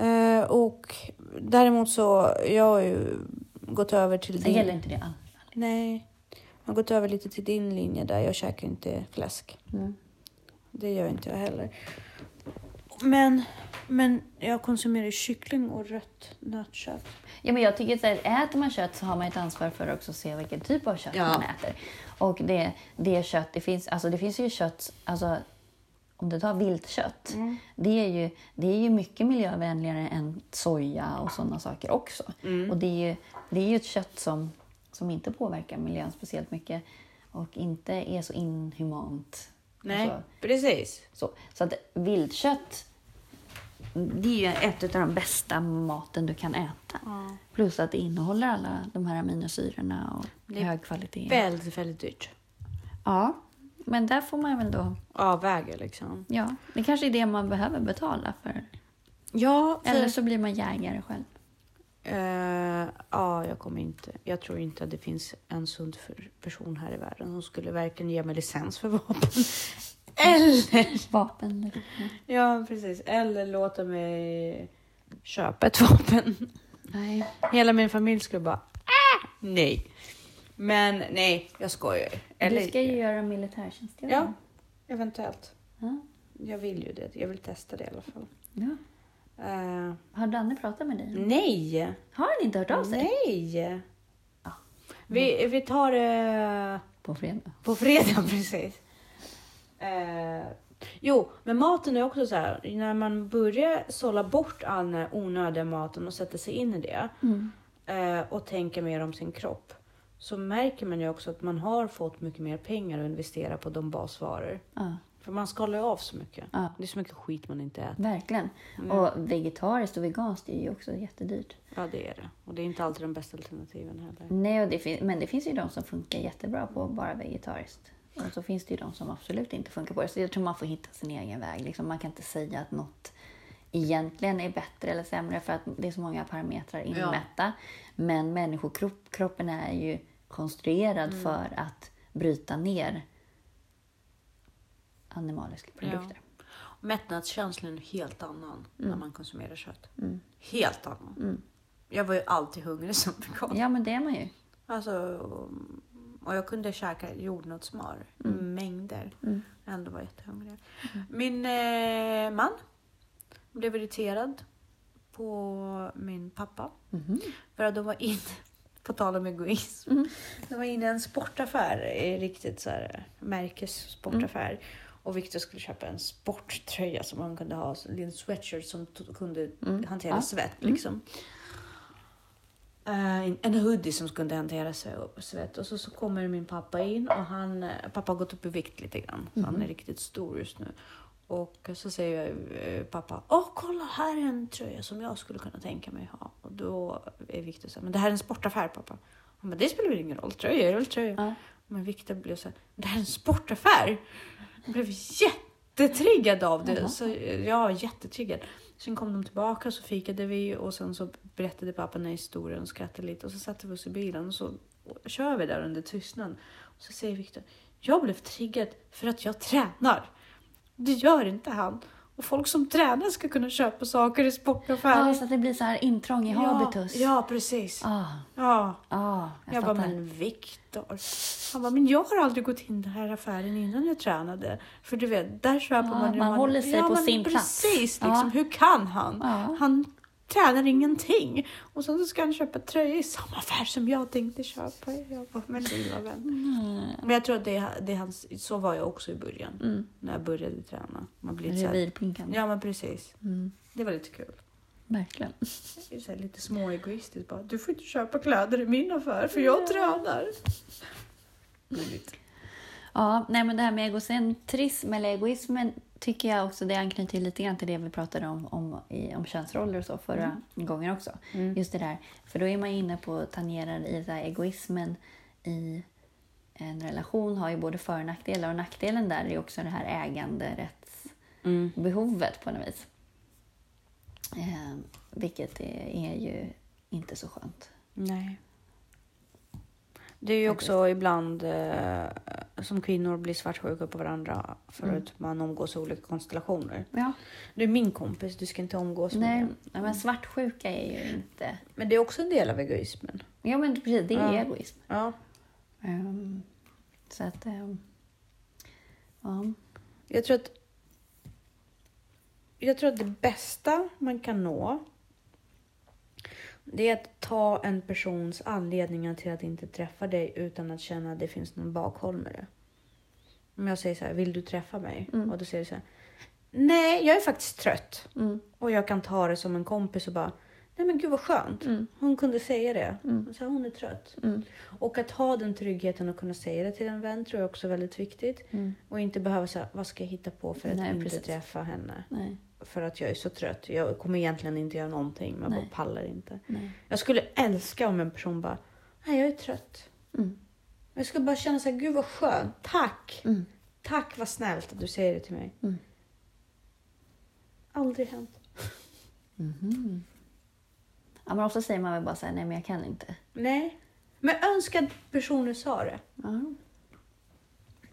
Ja. Eh, och däremot så, jag har ju gått över till
Sen gäller
din...
inte det alla.
Nej, jag har gått över lite till din linje där. Jag käkar inte fläsk.
Mm.
Det gör inte jag heller. Men, men jag konsumerar kyckling och rött nötkött.
Ja, men jag tycker så här, äter man kött så har man ett ansvar för också att se vilken typ av kött
Ja.
man äter. Och det, det kött, det finns, alltså det finns ju kött, alltså om du tar viltkött, det, är ju, det är ju mycket miljövänligare än soja och sådana saker också.
Mm.
Och det är ju, det är ju ett kött som, som inte påverkar miljön speciellt mycket och inte är så inhumant. Alltså,
precis.
så, så att viltkött, det är ju ett av de bästa maten du kan äta. Plus att det innehåller alla de här aminosyrorna och
Det är
hög kvalitet.
Väldigt, väldigt dyrt.
Ja, men där får man väl då...
Avväger liksom.
Ja, det kanske är det man behöver betala för.
Typ. Ja,
Eller så blir man jägare själv.
Eh, ja, jag kommer inte. Jag tror inte att det finns en sund för- person här i världen som skulle verkligen ge mig licens för vapen. Eller,
Vapen.
ja precis, eller låta mig köpa ett vapen.
Nej.
Hela min familj skulle bara, ah, nej. Men nej, jag skojar. Eller,
Du ska ju göra militärtjänstgöring.
Ja, eventuellt.
Ja.
Jag vill ju det. Jag vill testa det i alla fall.
ja. Mm.
Eh,
Har Danne pratat med dig?
nej!
Har han inte hört av sig?
Nej!
Ja.
Vi, vi tar eh, det
På fredag.
på fredag precis. Eh, jo, men maten är också så här. När man börjar sålla bort all den här onödiga maten och sätter sig in i det
Mm.
eh, och tänker mer om sin kropp så märker man ju också att man har fått mycket mer pengar att investera på de basvaror.
Ja.
För man skalar ju av så mycket.
Ja.
Det är så mycket skit man inte äter.
Verkligen. Och vegetariskt och veganskt är ju också jättedyrt.
Ja, det är det. Och det är inte alltid de bästa alternativen heller.
Nej, och det fin- men det finns ju de som funkar jättebra på bara vegetariskt. Och så finns det ju de som absolut inte funkar på det. Så jag tror man får hitta sin egen väg. Liksom, man kan inte säga att något egentligen är bättre eller sämre för att det är så många parametrar inmätta. Men människokroppen är ju konstruerad
Mm.
för att bryta ner animaliska produkter.
Mättnadskänslan är en helt annan när man konsumerar kött. Helt annan. Jag var ju alltid hungrig som vegan.
Ja, men det är man ju.
Alltså, och jag kunde käka jordnötssmör mängder. Ändå var jag jättehungrig. Min eh, man blev irriterad på min pappa.
Mhm.
För att de var inne, på tal om egoism, de var inne i en sportaffär, i riktigt så här, märkessportaffär. Och Victor skulle köpa en sporttröja som han kunde ha, en sweatshirt som t- kunde hantera svett. Liksom. Eh, en- en hoodie som skulle hantera sve- svett. Och så, så kommer min pappa in och han, eh, pappa har gått upp i vikt lite grann. Så han är riktigt stor just nu. Och så säger eh, pappa, åh kolla här är en tröja som jag skulle kunna tänka mig ha. Och då är Viktor så här, men det här är en sportaffär pappa. Han bara, det spelar väl ingen roll, tröja är väl tröja.
Ja.
Men Viktor blev så här, det här är en sportaffär. Han blev jättetriggad av det. Så, eh, ja, jättetriggad. Sen kom de tillbaka så fikade vi och sen så berättade pappa den här historien och skrattade lite och så satte vi oss i bilen och så kör vi där under tystnaden. Och så säger Viktor, jag blev triggad för att jag tränar. Det gör inte han. Och folk som tränar ska kunna köpa saker i sportaffärer.
Ja, så att det blir så här intrång i habitus.
ja, precis.
Ah,
Ja.
ah, jag,
Jag, bara,
fattar.
men Viktor. Han bara, men jag har aldrig gått in i den här affären innan jag tränade. För du vet, där köper
Ja,
man ju...
man håller sig på
men
sin plats.
precis, Liksom,
Ja.
Hur kan han?
Ja.
Han tränar ingenting. Och sen så ska han köpa tröja i samma affär som jag tänkte köpa. Jag bara, men lilla vän. Men jag tror att det, det är hans, så var jag också i början.
Mm.
När jag började träna. Man blir lite så här,
Revirpinkande. Mm.
Ja, men precis. Det var lite kul.
Verkligen.
Det är så här lite småegoistiskt bara. Du får inte köpa kläder i min affär för jag tränar.
Ja, nej men det här med egocentrism eller egoismen tycker jag också, det anknyter ju lite grann till det vi pratade om, om, i, om könsroller och så förra
Mm.
gången också. Just det där, för då är man ju inne på tangerar i så här egoismen i en relation har ju både för och nackdelar och nackdelen där är ju också det här
Mm,
äganderättsbehovet på något vis. Ehm, Eh, vilket är, är ju inte så skönt.
Nej. Det är ju också ibland eh, som kvinnor blir svartsjuka på varandra för att man omgås i olika konstellationer.
Ja.
Du är min kompis, du ska inte omgås med
Nej,
den.
nej, men svartsjuka är ju inte...
Men det är också en del av egoismen.
Ja, men precis. Det är
Ja.
egoism.
Ja.
Ehm, så att... ehm, ja.
Jag tror att jag tror att det bästa man kan nå det är att ta en persons anledningar till att inte träffa dig utan att känna att det finns någon bakhåll med det. Om jag säger så här, vill du träffa mig? Och då säger du så här, nej, jag är faktiskt trött.
Mm,
Och jag kan ta det som en kompis och bara, nej men gud vad skönt.
mm,
Hon kunde säga det. Så här, hon är trött. Och att ha den tryggheten och kunna säga det till en vän tror jag också är väldigt viktigt.
mm.
Och inte behöva säga, vad ska jag hitta på för att
Nej,
inte
precis.
träffa henne?
Nej.
För att jag är så trött. Jag kommer egentligen inte göra någonting, men jag
Nej.
bara pallar inte.
Nej.
Jag skulle älska om en person bara, nej jag är trött.
Mm.
Jag skulle bara känna så här, gud vad skönt, tack!
Mm.
Tack vad snällt att du säger det till mig.
Mm.
Aldrig hänt.
mhm. Ja, men ofta säger man väl bara så här, nej men jag kan inte.
Nej. Men önskad personer sa det.
Ja.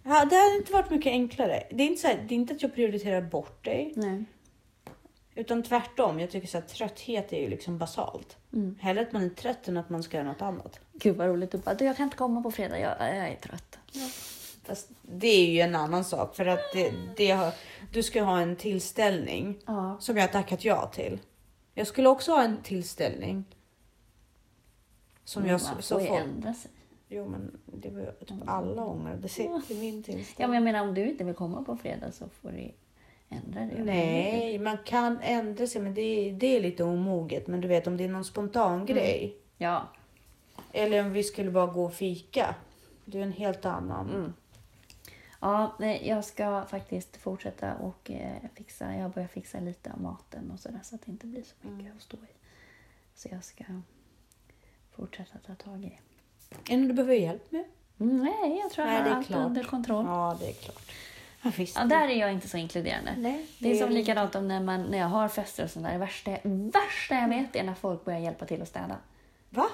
Ja, det hade inte varit mycket enklare. Det är inte, så här, det är inte att jag prioriterar bort dig.
Nej.
Utan tvärtom, jag tycker så att trötthet är ju liksom basalt. Hellre att man är trött än att man ska göra något annat.
Mm. Gud vad roligt. Du bara, du jag kan inte komma på fredag, jag, jag är trött.
Fast det är ju en annan sak för att det, det har, du ska ha en tillställning
Ja.
som jag har tackat ja till. Jag skulle också ha en tillställning. Som jag
Mm, man
s-
får
så
ju
får.
ändra sig.
Jo men det var ju typ alla ångrade sig till min
Ja,
tillställning.
men jag menar om du inte vill komma på fredag så får du ändra det.
Mm. Nej, man kan ändra sig men det, är- det är lite omoget. Men du vet om det är någon
Mm.
spontan grej.
Ja.
Eller om vi skulle bara gå och fika. Det är en helt annan.
Mm. Ja, nej, jag ska faktiskt fortsätta och eh, fixa. Jag börjar fixa lite av maten och sådär så att det inte blir så mycket
Mm.
att stå i. Så jag ska fortsätta ta tag i det.
Är det något du behöver hjälp med?
Mm, nej, jag tror
Nej,
jag
det
har
är
allt
klart.
under kontroll. Ja.
Ja, det är klart. Ja, visst.
där är jag inte så inkluderande.
Nej,
det är
det
som
är-
likadant om när, man, när jag har fester och sånt där. Det värsta, värsta jag vet är när folk börjar hjälpa till att städa.
Va?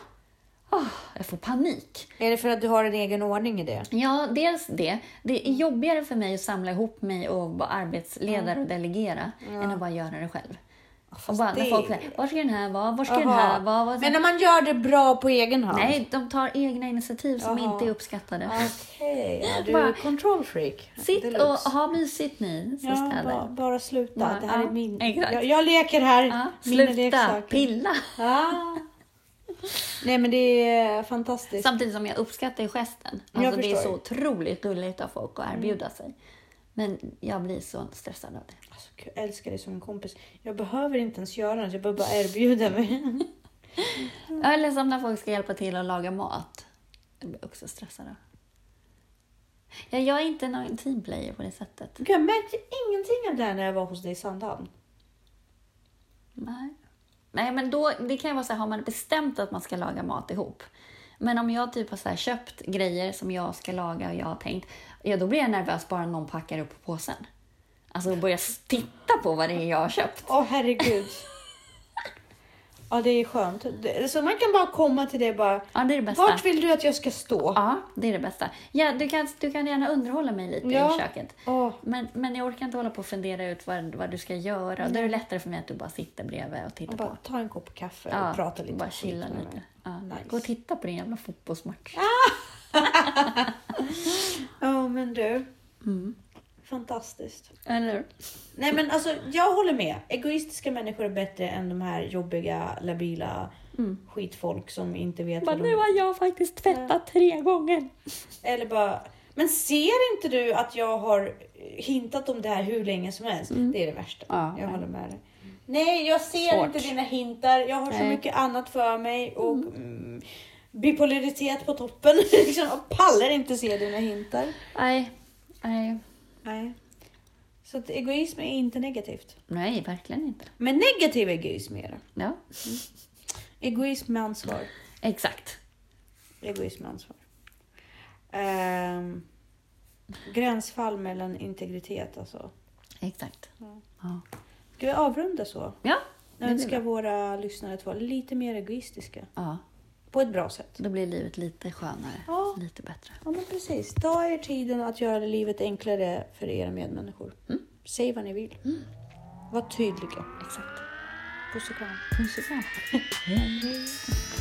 Åh, jag får panik.
Är det för att du har en egen ordning i det?
Ja, dels det. Det är
Mm.
jobbigare för mig att samla ihop mig och vara arbetsledare
Mm.
och delegera än att bara göra det själv. och bara, när
det-
folk säger, var ska den här vara? Var ska den
Aha.
här vara? Var ska-"
Men när man gör det bra på egen hand?
Nej, de tar egna initiativ som
Jaha.
inte är uppskattade.
Okej, ja, du
Bara-
är kontrollfreak.
Sitt
Deluxe.
och ha mysigt ni som
Ja,
städar.
bara, bara sluta.
Bara,
det här
ja,
är min...
exakt.
Jag, jag leker här.
Ja,
Min
sluta
leksak.
pilla.
Ja. Nej, men det är fantastiskt.
Samtidigt som jag uppskattar ju gesten.
Jag
Alltså, det är
förstår. Mm.
så otroligt gulligt av folk att erbjuda sig. Men jag blir så stressad av det.
Alltså, gud, jag älskar dig som en kompis. Jag behöver inte ens göra något, jag behöver bara erbjuda mig.
Ja, Eller som när folk ska hjälpa till att laga mat. Jag blir också stressad av. Ja, jag är inte någon teamplayer på det sättet.
Gud, Jag märkte ingenting av det här när jag var hos dig i Sandhamn.
Nej. Nej, men då, det kan ju vara så här, har man bestämt att man ska laga mat ihop. Men om jag typ har så här köpt grejer som jag ska laga och jag har tänkt, ja då blir jag nervös bara någon packar upp påsen. Alltså börjar titta på vad det är jag har köpt.
Åh herregud. ja, det är skönt. Det- Så man kan bara komma till dig och bara.
Ja, det är det bästa.
Vart vill du att jag ska stå?
Ja, det är det bästa. Ja, du, kan, du kan gärna underhålla mig lite
Ja.
i köket.
Åh.
Men, men jag orkar inte hålla på och fundera ut vad, vad du ska göra. Då är det lättare för mig att du bara sitter bredvid och tittar
Och
på.
bara ta en kopp kaffe och
Ja,
prata lite.
bara
skit
chilla
med
lite.
mig.
Ja.
Nice.
Gå och titta på din jävla fotbollsmatch.
Ja, men du. Fantastiskt.
Mm. Eller hur?
Nej, men alltså, jag håller med. Egoistiska människor är bättre än de här jobbiga, labila skitfolk som inte vet
Mm. Bara,
vad de
nu har jag faktiskt tvättat tre gånger.
Eller bara, men ser inte du att jag har hintat om det här hur länge som helst?
Mm.
Det är det värsta.
Ja,
jag
ja.
håller med dig. Nej, jag ser
Svårt.
inte dina hintar. Jag har så
Nej.
mycket annat för mig och mm, bipolaritet på toppen. liksom, och pallar inte se dina hintar.
Nej, nej,
Nej. Så att egoism är inte negativt.
nej, verkligen inte.
Men negativ egoism är det.
Ja,
Egoism med ansvar.
exakt.
Egoism med ansvar. Ehm, gränsfall mellan integritet alltså.
Exakt. Ja,
Ska vi avrunda så?
ja.
Jag önskar våra lyssnare att vara lite mer egoistiska.
ja.
På ett bra sätt.
Då blir livet lite skönare,
Ja.
lite bättre.
Ja, men precis. Ta er tiden att göra livet enklare för era medmänniskor. Säg vad ni vill. Var tydliga.
Exakt.
Puss och kram.
Puss och kram.